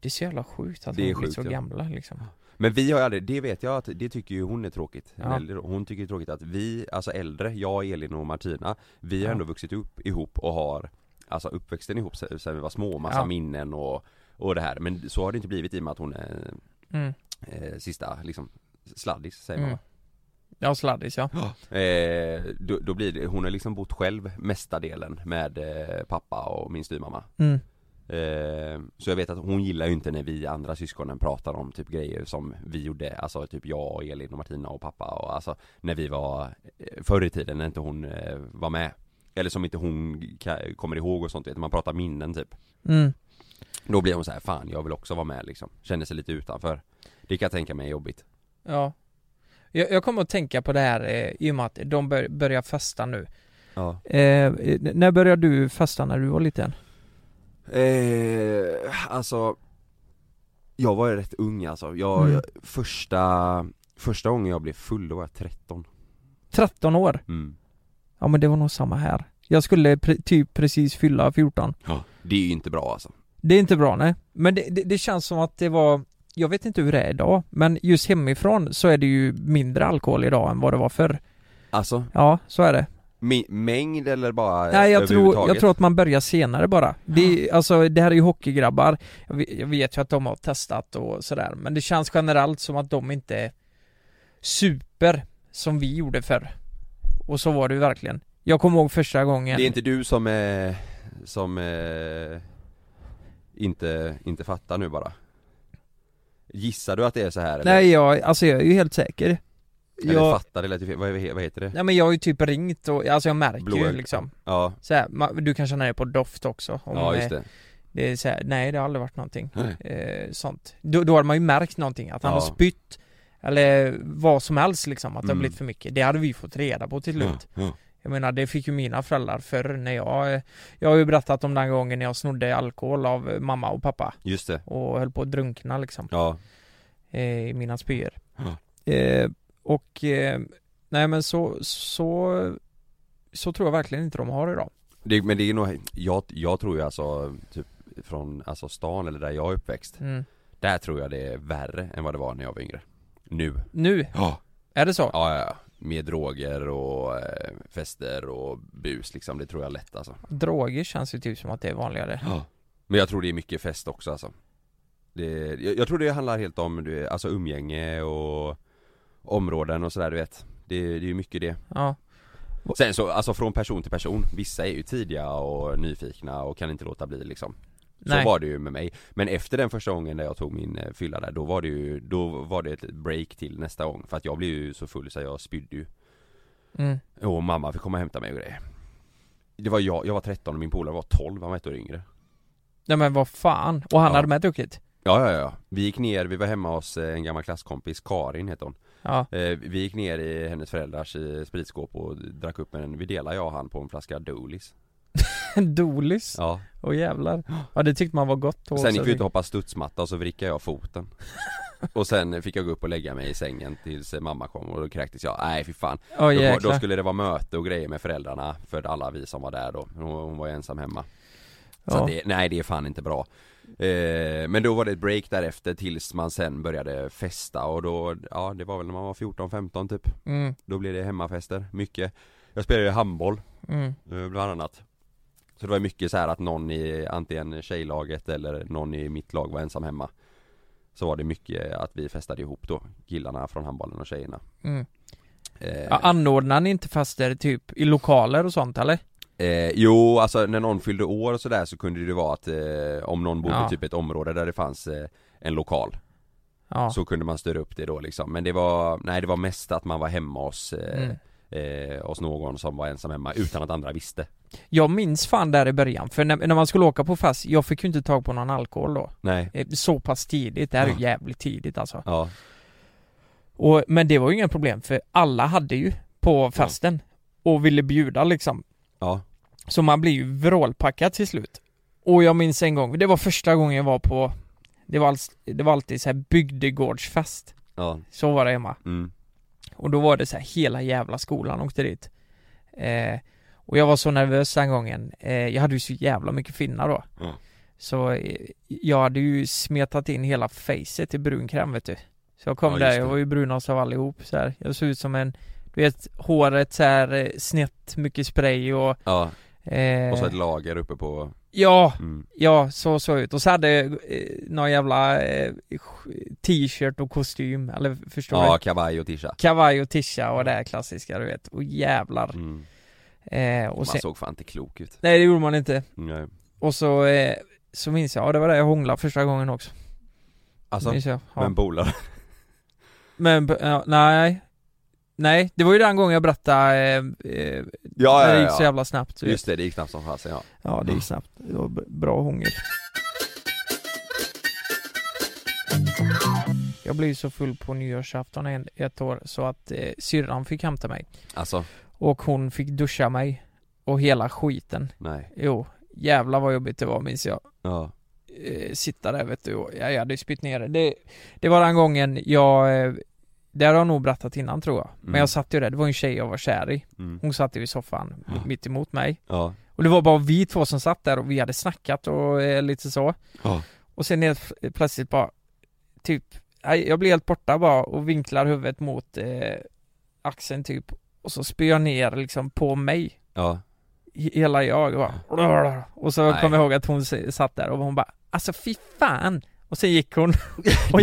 det är så jävla sjukt att
Det
de
är
har blivit
sjukt, ja.
så gamla liksom.
Men vi har ju aldrig, det vet jag att, det tycker ju hon är tråkigt.
Ja.
Eller, Hon tycker det är tråkigt att vi, alltså äldre, jag, Elin och Martina, vi har
Ja.
ändå vuxit upp ihop och har Alltså uppväxten ihop sen sen vi var små, massa
Ja.
minnen och, och det här. Men så har det inte blivit i och med att hon är
Mm.
eh, sista liksom sladdis säger man
Mm.
va?
Ja, sladdis ja.
Eh, då, då blir det, hon har liksom bott själv mesta delen med eh, pappa och min styvmamma
Mm.
eh, Så jag vet att hon gillar ju inte när vi andra syskonen pratar om typ grejer som vi gjorde Alltså typ jag och Elin och Martina och pappa och alltså När vi var eh, förr i tiden när inte hon eh, var med Eller som inte hon ka- kommer ihåg och sånt vet du, man pratar minnen typ
Mm.
Då blir hon så här, fan jag vill också vara med liksom Känner sig lite utanför Det kan jag tänka mig är jobbigt
Ja. Jag, jag kommer att tänka på det här eh, i och med att de bör, börjar festa nu.
Ja
Eh, n- när började du festa när du var liten?
Eh, alltså Jag var ju rätt ung alltså, jag,
Mm.
jag- första, första gången jag blev full då var jag 13
13 år?
Mm.
Ja men det var nog samma här. Jag skulle pre- typ precis fylla 14.
ja. Det är ju inte bra alltså
Det är inte bra nej. Men det, det, det känns som att det var, jag vet inte hur det är idag, men just hemifrån så är det ju mindre alkohol idag än vad det var förr.
Alltså,
Ja, så är det.
mi- mängd eller bara
Nej jag tror,
överhuvudtaget?
jag tror att man börjar senare bara. Det, är- alltså, det här är ju hockeygrabbar, jag vet, jag vet ju att de har testat och sådär, men det känns generellt som att de inte super som vi gjorde förr. Och så var det ju verkligen. Jag kommer ihåg första gången.
Det är inte du som, eh, som eh, inte, inte fattar nu bara? Gissar du att det är så här eller?
Nej jag, alltså jag är ju helt säker.
Eller
Jag,
fattar det lät ju fel. vad, vad heter det?
nej men jag har ju typ ringt och, alltså jag märker ju
Blåögd.
liksom.
Ja,
Så här, man, du kan känna det på doft också. Om
ja
det-
just det
Det är så här, nej det har aldrig varit någonting
Nej.
eh, sånt. Då, då har man ju märkt någonting, att han
Ja.
har spytt eller vad som helst liksom, att det har
Mm.
blivit för mycket. Det hade vi fått reda på till slut.
ja.
Jag menar det fick ju mina föräldrar förr när jag, eh, jag har ju berättat om den gången när jag snodde alkohol av eh, mamma och pappa
Just det,
och höll på att drunkna liksom
ja
eh, i mina spyor.
Ja.
Eh, och eh, nej men så, så, så tror jag verkligen inte de har idag.
det, Men det är nog, jag, jag tror ju alltså typ från alltså stan eller där jag är uppväxt
Mm.
Där tror jag det är värre än vad det var när jag var yngre Nu
Nu,
Ja
är det så?
Ja, ja, med droger och eh, fester och bus liksom, det tror jag lätt alltså
Droger känns ju typ som att det är vanligare.
Ja Men jag tror det är mycket fest också alltså det, jag, jag tror det handlar helt om du, alltså umgänge och områden och sådär du vet Det, det är ju mycket det
Ja.
Sen så, alltså från person till person Vissa är ju tidiga och nyfikna och kan inte låta bli liksom Så
Nej.
var det ju med mig Men efter den första gången när jag tog min eh, fylla där Då var det ju, då var det ett break till nästa gång För att jag blev ju så full så jag spydde ju
Mm.
Och mamma fick komma och hämta mig och grejer Det var jag, jag var 13 och min polare var 12, han var ett år yngre
Nej men vad fan, och han
Ja.
hade med druckit?
Ja, ja, ja. Vi gick ner, vi var hemma hos eh, en gammal klasskompis, Karin hette hon.
Ja,
Eh, Vi gick ner i hennes föräldrars eh, spritskåp och drack upp en, vi delade jag och han på en flaska Doolis.
Dolis,
Ja.
åh jävlar Ja det tyckte man var gott då
Sen
också.
gick vi ut och hoppade studsmatta och så vrickade jag foten. Och sen fick jag gå upp och lägga mig i sängen tills eh, mamma kom och då kräktes jag. Nej fy fan.
Åh
Då,
jäklar
då skulle det vara möte och grejer med föräldrarna för alla vi som var där då. Hon, hon var ju ensam hemma. Så
ja.
att det, nej det är fan inte bra eh, Men då var det ett break därefter tills man sen började festa och då, ja det var väl när man var 14-15 typ
Mm,
Då blev det hemmafester, mycket Jag spelade ju handboll
mm,
eh, bland annat Så det var mycket så här att någon i antingen tjejlaget eller någon i mitt lag var ensam hemma Så var det mycket att vi festade ihop då, killarna från handbollen och tjejerna
mm.
eh,
Ja, Anordnar ni inte fester typ i lokaler och sånt eller?
Eh, jo, alltså när någon fyllde år och sådär så kunde det vara att eh, om någon bodde
Ja.
typ ett område där det fanns eh, en lokal
Ja,
Så kunde man störa upp det då liksom. Men det var, nej det var mest att man var hemma hos, eh,
mm.
eh, hos någon som var ensam hemma utan att andra visste.
Jag minns fan där i början, för när, när man skulle åka på fest, jag fick ju inte tag på någon alkohol då
Nej.
Eh, Så pass tidigt, det här är ju
Ja.
jävligt tidigt alltså
Ja.
och, Men det var ju inga problem för alla hade ju på festen och ville bjuda liksom
Ja.
Så man blir ju vrålpackad till slut. Och jag minns en gång, det var första gången jag var på Det var, alls, det var alltid så här bygdegårdsfest.
Ja.
Så var det hemma.
Mm.
Och då var det så här hela jävla skolan åkte dit. Eh, och jag var så nervös den gången. Eh, jag hade ju så jävla mycket finnar då.
Ja.
Så eh, jag hade ju smetat in hela facet i brun kräm vet du. Så jag kom
Ja,
där,
just
jag
det.
var ju brunast av allihop så här. Jag såg ut som en, du vet håret så här eh, snett, mycket spray och
ja.
eh,
Och så ett lager uppe på,
Ja,
mm.
Ja, så såg jag ut. Och så hade jag eh, någon jävla eh, t-shirt och kostym, eller förstår
ja
du?
kavaj och tisha.
Kavaj och tisha och det här klassiska du vet. Och jävlar.
Mm.
Eh, och
Man
sen,
såg fan inte klok ut.
nej det gjorde man inte.
Nej.
Och så, eh, så minns jag, ja det var där jag hånglade första gången också.
Alltså,
minns jag. Ja.
men polare.
Men, ja, nej. Nej, det var ju den gången jag berättade, eh, eh,
Ja,
det
ja,
gick så
ja. ja.
jävla snabbt. du vet.
Just Mm. det, det gick knappt som fasen ja.
Ja, det gick snabbt. Det var b- bra hångel. Jag blev ju så full på nyårsafton en- ett år så att eh, syrran fick hämta mig.
Alltså,
Och hon fick duscha mig. Och hela skiten.
nej.
Jo, Jävlar vad jobbigt det var minns jag
Ja,
eh, sitta där vet du och jag jag hade ju spytt ner det. det Det var den gången jag eh, Det har jag nog berättat innan tror jag Men
Mm.
jag satt ju där, det var ju en tjej jag var kär i
mm.
Hon satt ju i soffan
Ja.
mitt emot mig
ja,
Och det var bara vi två som satt där och vi hade snackat och eh, lite så
ja,
Och sen helt f- plötsligt bara Typ nej, Jag blir helt borta bara och vinklar huvudet mot eh, axeln typ Och så spyr jag ner liksom på mig
ja,
he- hela jag bara, Och så
Mm. Nej.
kom jag ihåg att hon s- satt där och hon bara Alltså fy fan! Och sen gick hon Och,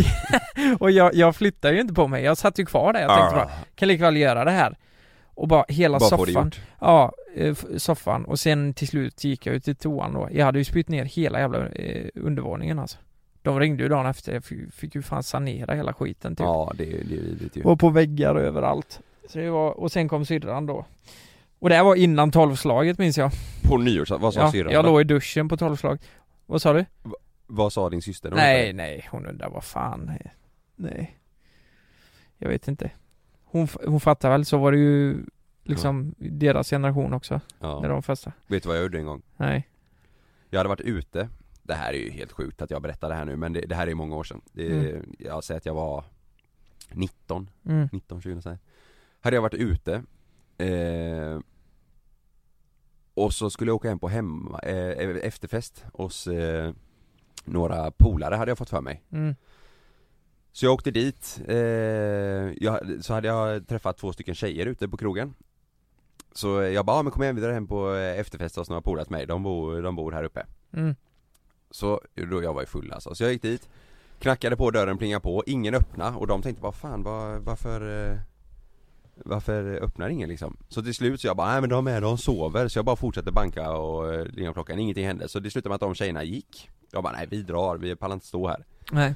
och jag, jag flyttade ju inte på mig, jag satt ju kvar där, jag tänkte bara Kan lika väl göra det här Och bara hela
Ah. bara få det
soffan
gjort
Ja, eh, f- soffan och sen till slut gick jag ut till toan då Jag hade ju spytt ner hela jävla eh, undervåningen alltså De ringde ju dagen efter, jag fick, fick ju fan sanera hela skiten typ
Ja, det är det är typ- vidrigt ju
och på väggar och överallt så det var, Och sen kom syrran då Och det här var innan tolvslaget minns jag
På nyårsafton, vad sa
ja,
syrran?
Jag
då?
låg i duschen på tolvslag Vad sa du?
Vad sa din syster? då?
nej, nej, hon undrar vad fan Nej Jag vet inte Hon, f- hon fattar väl, så var det ju liksom deras generation också när
Ja.
de första
Vet du vad jag gjorde en gång?
Nej,
Jag hade varit ute Det här är ju helt sjukt att jag berättar det här nu men det, det här är många år sedan det,
Mm.
Jag säger att jag var 19,
mm,
19, 20 så här. Hade jag varit ute eh, Och så skulle jag åka hem på hemma, eh, efterfest hos eh, några polare hade jag fått för mig
mm,
Så jag åkte dit, eh, jag, så hade jag träffat två stycken tjejer ute på krogen Så jag bara, ah, men kom igen vi drar hem på eh, efterfest hos några polare till mig, de bor, de bor här uppe
mm,
så, då jag var ju full alltså, så jag gick dit Knackade på dörren, plingade på, ingen öppna och de tänkte bara fan var, varför eh, Varför öppnar ingen liksom? Så till slut så jag bara, nej men de är de sover så jag bara fortsatte banka och eh, ringa på klockan, ingenting hände så det slutade med att de tjejerna gick Jag bara, nej vi drar, vi pallar inte stå här
nej,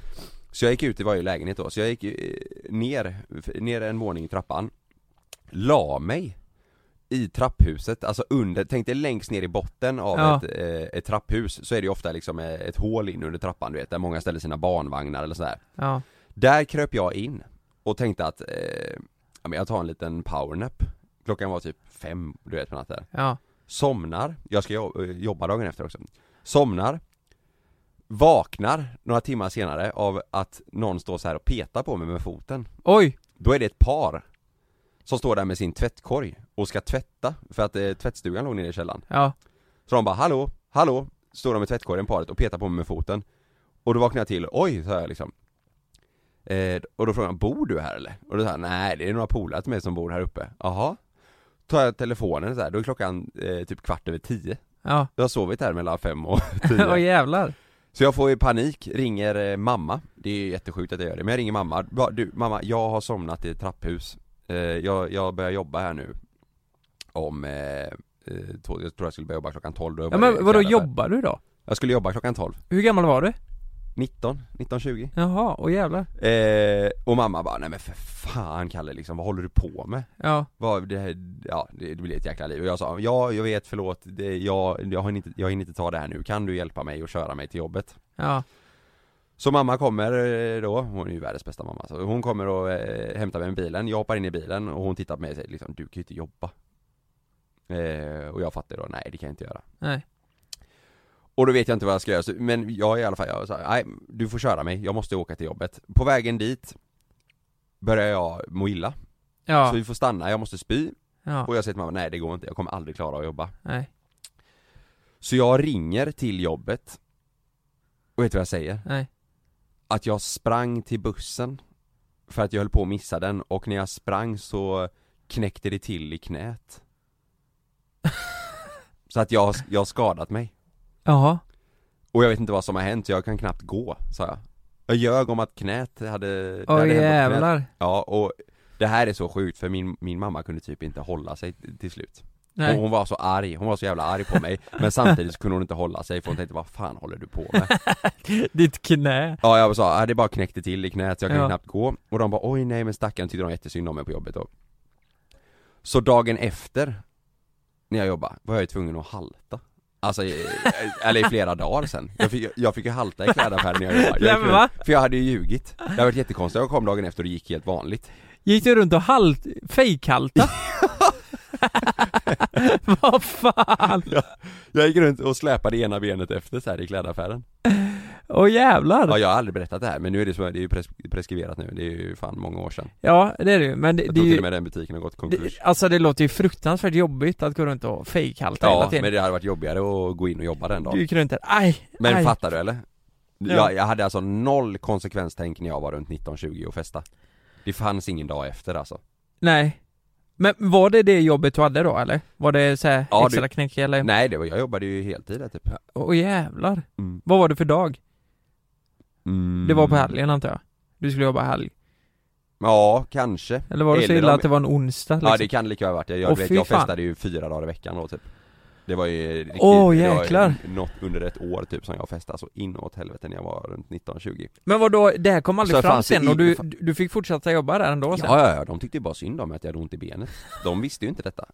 Så jag gick ut i varje lägenhet då, så jag gick eh, ner, f- ner en våning i trappan La mig i trapphuset, alltså under, tänk dig längst ner i botten av
Ja.
ett, eh, ett trapphus så är det ju ofta liksom eh, ett hål in under trappan du vet, där många ställer sina barnvagnar eller sådär
ja,
Där kröp jag in och tänkte att, eh, ja, men jag tar en liten powernap Klockan var typ fem, du vet på natten
ja,
Somnar, jag ska jo- eh, jobba dagen efter också Somnar Vaknar några timmar senare av att någon står så här och petar på mig med foten
oj,
Då är det ett par Som står där med sin tvättkorg och ska tvätta för att eh, tvättstugan låg nere i källaren
ja,
Så de bara 'Hallå, hallå' Står de med tvättkorgen paret och petar på mig med foten Och då vaknar jag till, oj, sa jag liksom eh, Och då frågar han 'Bor du här eller?' Och då sa han 'Nej, det är några polare till mig som bor här uppe' Jaha Tar jag telefonen så här, då är klockan eh, typ kvart över tio
ja,
jag har sovit här mellan fem och
åh
tio
jävlar
Så jag får ju panik, ringer eh, mamma Det är ju jättesjukt att jag gör det, men jag ringer mamma Bara, Du mamma, jag har somnat i ett trapphus Eh, Jag, jag börjar jobba här nu Om, eh, eh, två, jag tror jag skulle börja jobba klockan 12 då
Ja
jobbade jag i
men vadå
fjärde affär.
jobbar du då?
Jag skulle jobba klockan 12,
Hur gammal var du?
19, 19.20
Jaha, åh jävlar
eh, Och mamma bara, nej men för fan Kalle liksom, vad håller du på med?
Ja,
Vad, det, här, ja, det, det blir ett jäkla liv och jag sa, ja jag vet förlåt, det, jag, jag, hinner inte, jag hinner inte ta det här nu, kan du hjälpa mig och köra mig till jobbet?
ja,
Så mamma kommer eh, då, hon är ju världens bästa mamma, så hon kommer och eh, hämtar mig med bilen, jag hoppar in i bilen och hon tittar på mig och säger liksom, du kan ju inte jobba eh, Och jag fattar då, nej det kan jag inte göra
nej,
Och då vet jag inte vad jag ska göra, så, men jag i alla fall, jag sa, nej du får köra mig, jag måste åka till jobbet På vägen dit börjar jag må illa, så
ja,
vi får stanna, jag måste spy
ja,
och jag säger till mamma, nej det går inte, jag kommer aldrig klara att jobba
nej,
Så jag ringer till jobbet Och vet du vad jag säger?
nej,
att jag sprang till bussen För att jag höll på att missa den och när jag sprang så knäckte det till i knät Så att jag, jag har skadat mig
jaha,
Och jag vet inte vad som har hänt, jag kan knappt gå, sa jag Jag ljög om att knät hade, det hade hänt något
åh
på knät.
jävlar
Ja och det här är så sjukt för min, min mamma kunde typ inte hålla sig t- till slut
Nej.
och Hon var så arg, hon var så jävla arg på mig Men samtidigt så kunde hon inte hålla sig för hon tänkte vad fan håller du på med?
Ditt knä.
Ja jag sa, "Ah, det bara knäckte till i knät, jag kan
Ja.
ju knappt gå Och de bara, oj nej men stackarn tyckte de jättesynd om mig på jobbet då Så dagen efter När jag jobbade, var jag ju tvungen att halta Alltså, i- eller i flera dagar sen Jag fick, jag fick ju halta i klädaffären när jag jobbade jag
Nej,
gick
men
runt-
va?
För jag hade ju ljugit Det hade varit jättekonstigt, jag kom dagen efter och det gick helt vanligt
Gick du runt och halt, fejkhalta? Vad fan?
Jag gick runt och släpade ena benet efter så här i klädaffären
Åh jävlar!
Ja jag har aldrig berättat det här men nu är det så, det är ju pres- preskriberat nu, det är ju fan många år sedan
Ja, det är det ju, men det,
Jag
det
tror
är
till och
ju
med den butiken har gått i konkurs
det, Alltså det låter ju fruktansvärt jobbigt att gå runt och fejkhalta hela
Ja
tiden
men det hade varit jobbigare att gå in och jobba den
Du
dagen
gick runt där, aj,
Men
aj.
fattar du eller?
Ja.
Jag, jag hade alltså noll konsekvenstänk när jag var runt 19-20 och festa Det fanns ingen dag efter alltså
Nej Men var det det jobbet du hade då eller? Var det så här
Ja, det-
extra knäck eller?
Nej det var, jag jobbade ju heltid där, typ
Åh jävlar
Mm.
Vad var det för dag?
Mm.
Det var på helgen antar jag? Du skulle jobba helg?
Ja, kanske
Eller var det så
Eller
illa
om-
att det var en onsdag liksom?
Ja det kan lika väl ha varit, jag, jag,
Åh,
vet,
fy
jag
fan.
festade ju fyra dagar i veckan då typ Det var ju riktigt,
Åh,
det var ju
jäklar.
något under ett år typ som jag festade så inåt helvete när jag var runt 19-20
Men vadå, det här kom aldrig
Så
fram
fanns det
sen och
i-
du, du fick fortsätta jobba där ändå
Ja
sen?
ja, ja, de tyckte ju bara synd om att jag hade ont i benet De visste ju inte detta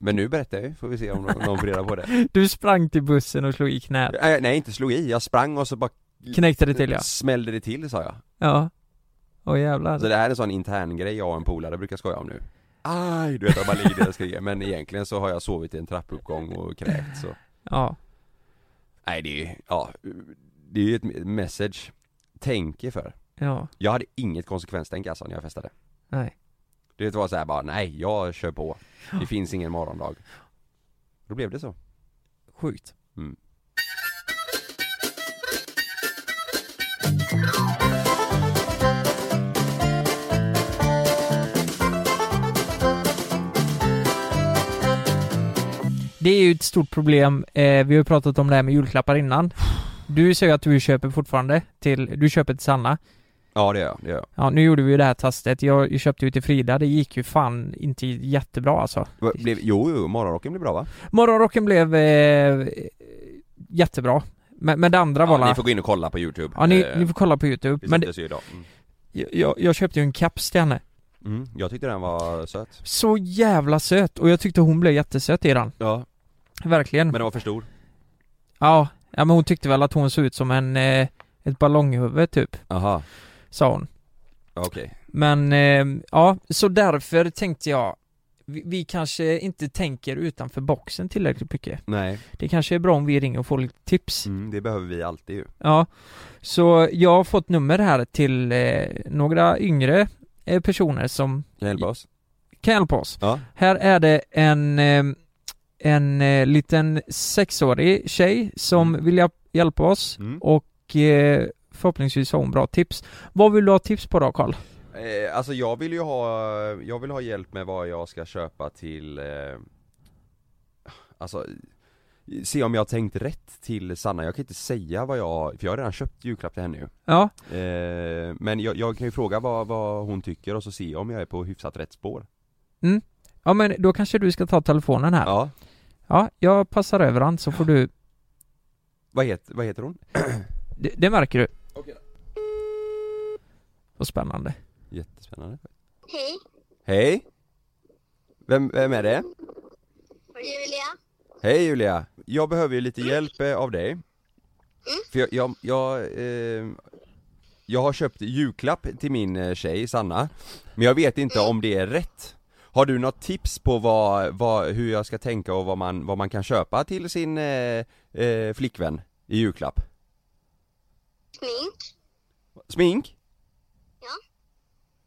Men nu berättar jag ju, får vi se om någon, någon får reda på det
Du sprang till bussen och slog i knät,
Nej, Äh, nej, inte slog i, jag sprang och så bara
knäckte det till ja?
Smällde det till sa jag
Ja Åh jävlar
Så det här är en sån intern grej jag och en polare brukar skoja om nu Aj, du vet jag bara ligger där och skriker Men egentligen så har jag sovit i en trappuppgång och kräkt så
Ja,
Nej det är ju, ja, det är ju ett message Tänk er för
ja,
Jag hade inget konsekvenstänk alltså när jag festade
nej
Du vet, Det var så här bara, nej jag kör på Det finns ingen morgondag Då blev det så
Sjukt
mm.
Det är ju ett stort problem, eh, vi har ju pratat om det här med julklappar innan Du säger att du köper fortfarande till, du köper till Sanna
Ja det gör jag, det gör jag
Ja nu gjorde vi ju det här testet, jag köpte ju till Frida, det gick ju fan inte jättebra alltså
Va- blev, Jo, jo, morgonrocken blev bra va?
Morgonrocken blev eh, jättebra Men, men det andra var
Ja,
la-
ni får gå in och kolla på youtube
Ja ni,
Eh,
ni får kolla på youtube,
det
men det,
syntes ju idag mm.
jag, jag köpte ju en kaps till henne
Mm. Jag tyckte den var söt
Så jävla söt, och jag tyckte hon blev jättesöt i den,
Ja,
verkligen
men den var för stor
Ja, ja men hon tyckte väl att hon såg ut som en, eh, ett ballonghuvud typ,
Aha,
sa hon
okej
Men, eh, ja, så därför tänkte jag vi, vi kanske inte tänker utanför boxen tillräckligt mycket
Nej,
Det kanske är bra om vi ringer och får lite tips
mm, det behöver vi alltid ju
Ja, så jag har fått nummer här till eh, några yngre eh, personer som
Kan hjälpa oss?
kan hjälpa oss.
Ja
Här är det en, eh, en eh, liten sexårig tjej som
Mm.
vill hjälp- hjälpa oss
mm.
och eh, förhoppningsvis har hon bra tips. Vad vill du ha tips på då Karl?
Eh, Alltså jag vill ju ha, jag vill ha hjälp med vad jag ska köpa till eh, Alltså Se om jag har tänkt rätt till Sanna, jag kan inte säga vad jag, för jag har redan köpt julklapp till henne ju
Ja,
eh, Men jag, jag kan ju fråga vad, vad hon tycker och så se om jag är på hyfsat rätt spår
ja men då kanske du ska ta telefonen här.
Ja,
Ja, jag passar över han så får du,
vad heter, vad heter hon?
det, det märker du. Vad spännande.
Jättespännande
Hej,
Hej! Vem, vem är det?
Julia.
Hej Julia! Jag behöver ju
Mm.
lite hjälp eh, av dig För jag, jag, jag, eh, jag har köpt julklapp till min eh, tjej Sanna Men jag vet inte
Mm.
om det är rätt Har du något tips på vad, vad, hur jag ska tänka och vad man, vad man kan köpa till sin eh, eh, flickvän i julklapp?
Smink.
Smink?
Ja.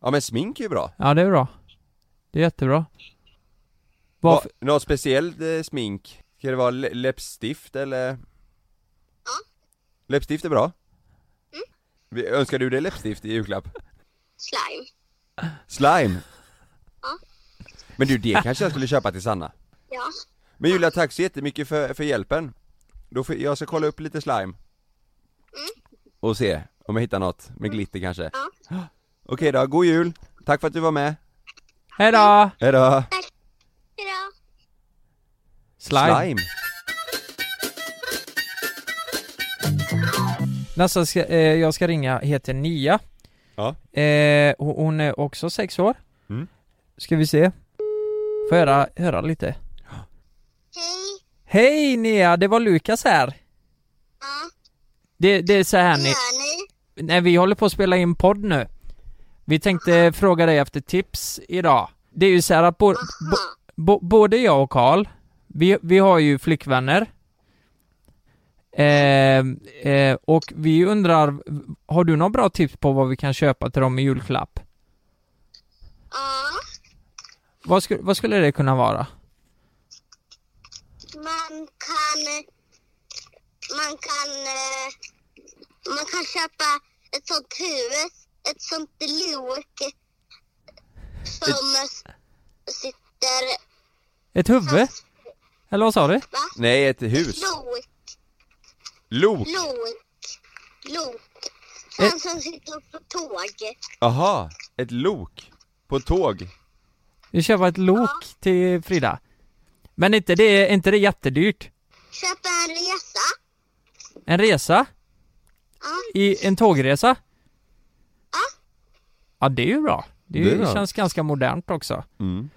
Ja men smink är ju bra
Ja det är bra. Det är jättebra.
Va,
Varför,
Något speciellt eh, smink? Ska det vara lä- läppstift eller?
Ja. Mm.
Läppstift är bra? Vi- Önskar du dig läppstift i julklapp?
Slime.
Slime?
Ja.
Men du, det kanske jag skulle köpa till Sanna?
Ja,
Men Julia, tack så jättemycket för, för hjälpen Då får, Jag ska kolla upp lite slime
Mm.
Och se om jag hittar något med glitter kanske
Ja.
Okej då, god jul! Tack för att du var med,
hejdå!
hejdå!
hejdå.
Slime!
Nästa ska, eh, jag ska ringa heter Nia
Ja.
eh, ho- Hon är också sex år
Mm.
Ska vi se Får jag höra, höra lite
Hej.
Hej Nia, det var Lukas här
Ja,
Det, det är så här
vad
ni,
gör ni?
när vi håller på att spela in podd nu Vi tänkte fråga dig efter tips idag Det är ju så här att bo, bo,
Aha.
bo, både jag och Karl Vi, vi har ju flickvänner. Eh, eh, och vi undrar, har du några bra tips på vad vi kan köpa till dem i julklapp?
ja,
Vad, sku, vad skulle det kunna vara?
man kan, man kan, eh, man kan köpa ett sånt hus, ett sånt lok som sitter,
Ett huvud? Eller vad sa du?
va?
Nej, ett hus.
Lok,
Lok.
lok, lok.
Eh.
Han som sitter på tåg.
Aha, ett lok. På ett tåg.
Vi köper ett lok till Frida. Men inte det, inte det jättedyrt?
Köpa en resa.
En resa?
Ja.
I en tågresa?
Ja.
Ja, det är ju bra. Det, är
Det
ju,
är bra. Mm.
känns ganska modernt också.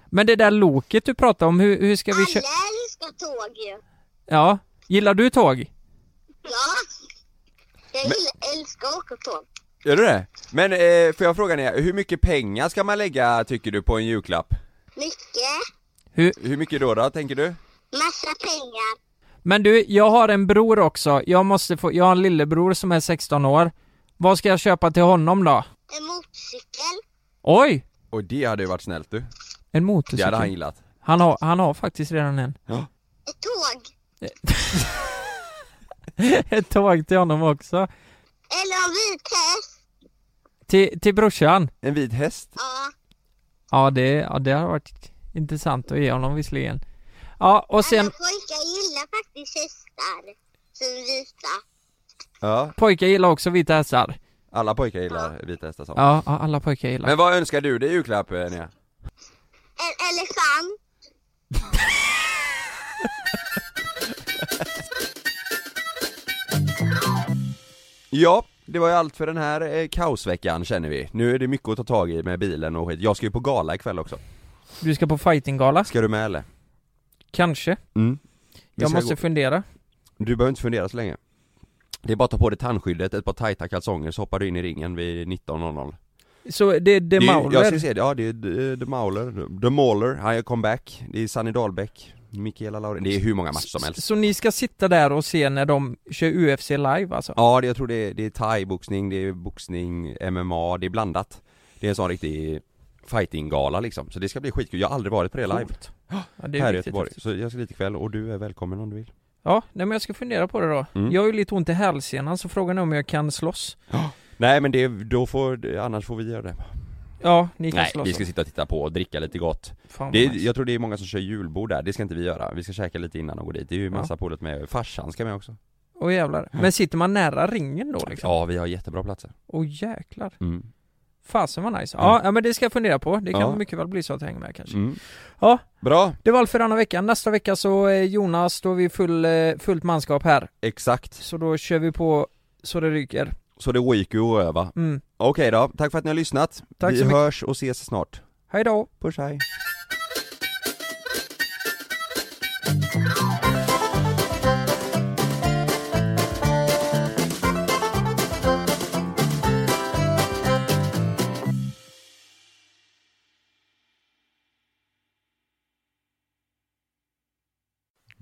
Men det där loket du pratade om, hur, hur ska vi köpa?
Alla älskar tåg ju.
Ja, gillar du tåg?
Ja. Jag gillar, älskar att åka tåg.
Gör du det? Men eh, får jag fråga dig, hur mycket pengar ska man lägga tycker du på en julklapp?
Mycket.
Hur mycket då, då tänker du?
Massa pengar.
Men du, jag har en bror också. Jag måste få, jag har en lillebror som är 16 år. Vad ska jag köpa till honom då?
En motorcykel.
Oj!
Och det hade ju varit snällt du.
En
Det hade han
motorcykel.
gillat.
Han har, han har faktiskt redan en.
Ett tåg.
Ett tåg till honom också.
Eller en vit häst.
Till, till brorsan.
En vit häst?
Ja.
Ja det, ja, det har varit intressant att ge honom visserligen. Ja, och sen
Alla pojkar gillar faktiskt hästar. Som vita.
Ja.
pojkar gillar också vita hästar.
Alla pojkar gillar vita hästar som.
Ja, ja, alla pojkar gillar.
Men vad önskar du dig i julklapp eh, Nia?
En elefant.
Ja, det var ju allt för den här eh, kaosveckan känner vi. Nu är det mycket att ta tag i med bilen och skit. Jag ska ju på gala ikväll också.
Du ska på fightinggala?
Ska du med eller?
Kanske.
Mm. Vi
Jag
ska
måste
gå-
fundera.
Du behöver inte fundera så länge. Det är bara att ta på dig tandskyddet, ett par tajta kalsonger så hoppar du in i ringen vid 19.00.
Så det är The
Det är ju- Jag
Mauler?
ska se det, ja det är The- The Mauler, The Mauler, han gör comeback. Det är Sunny Dahlbäck, Mikaela Laurin. Det är hur många matcher som helst.
Så ni ska sitta där och se när de kör UFC live alltså?
Ja, det, jag tror det är, det är thai-boxning, det är boxning, MMA, det är blandat. Det är en sån riktig fighting-gala liksom. Så det ska bli skitkul. Jag har aldrig varit på det live.
Coolt. Ja, det är
Här i
riktigt
Göteborg.
häftigt.
Så jag ska dit ikväll och du är välkommen om du vill.
Ja, nej men jag ska fundera på det då.
Mm.
Jag har ju lite ont i hälsenan så frågan är om jag kan slåss.
Nej men det, då får, annars får vi göra det.
Ja, ni kan
Nej,
slåss.
vi ska sitta och titta på och dricka lite gott.
Fan,
Det
det
är, jag tror det är många som kör julbord där, det ska inte vi göra. Vi ska käka lite innan och gå dit. Det är ju massa polare med, farsan ska med också.
Åh jävlar. Men sitter man nära ringen då liksom?
Mm. Ja, vi har jättebra platser.
Åh jäklar.
Mm.
Fasen vad nice.
Mm.
Ja, ja, men det ska jag fundera på. Det kan
Ja.
mycket väl bli så att jag hänger med kanske.
Mm.
Ja.
Bra,
Det var allt för denna veckan. Nästa vecka så eh, Jonas, då är vi full, eh, fullt manskap här.
exakt.
Så då kör vi på så det ryker.
Så det är week att öva.
Mm.
Okej då, tack för att ni har lyssnat.
Tack
vi
så mycket.
hörs och ses snart.
Hej då!
Puss hej.